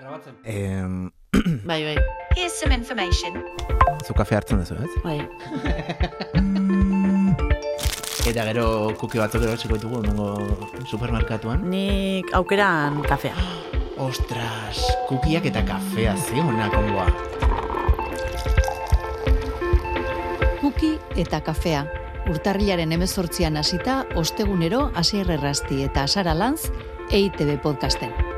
grabatzen. Em, Bai, bai. Here's some information. zu kafe hartzen duzu, ez? Bai. Eta gero kuki batzuk erosiko ditugu nongo supermerkatuan. Nik aukeran kafea. Ostras, kukiak eta kafea ze ona kongoa. Kuki eta kafea. Urtarrilaren E emezortzian hasita, ostegunero, asier errasti eta asara lanz, EITB podcasten.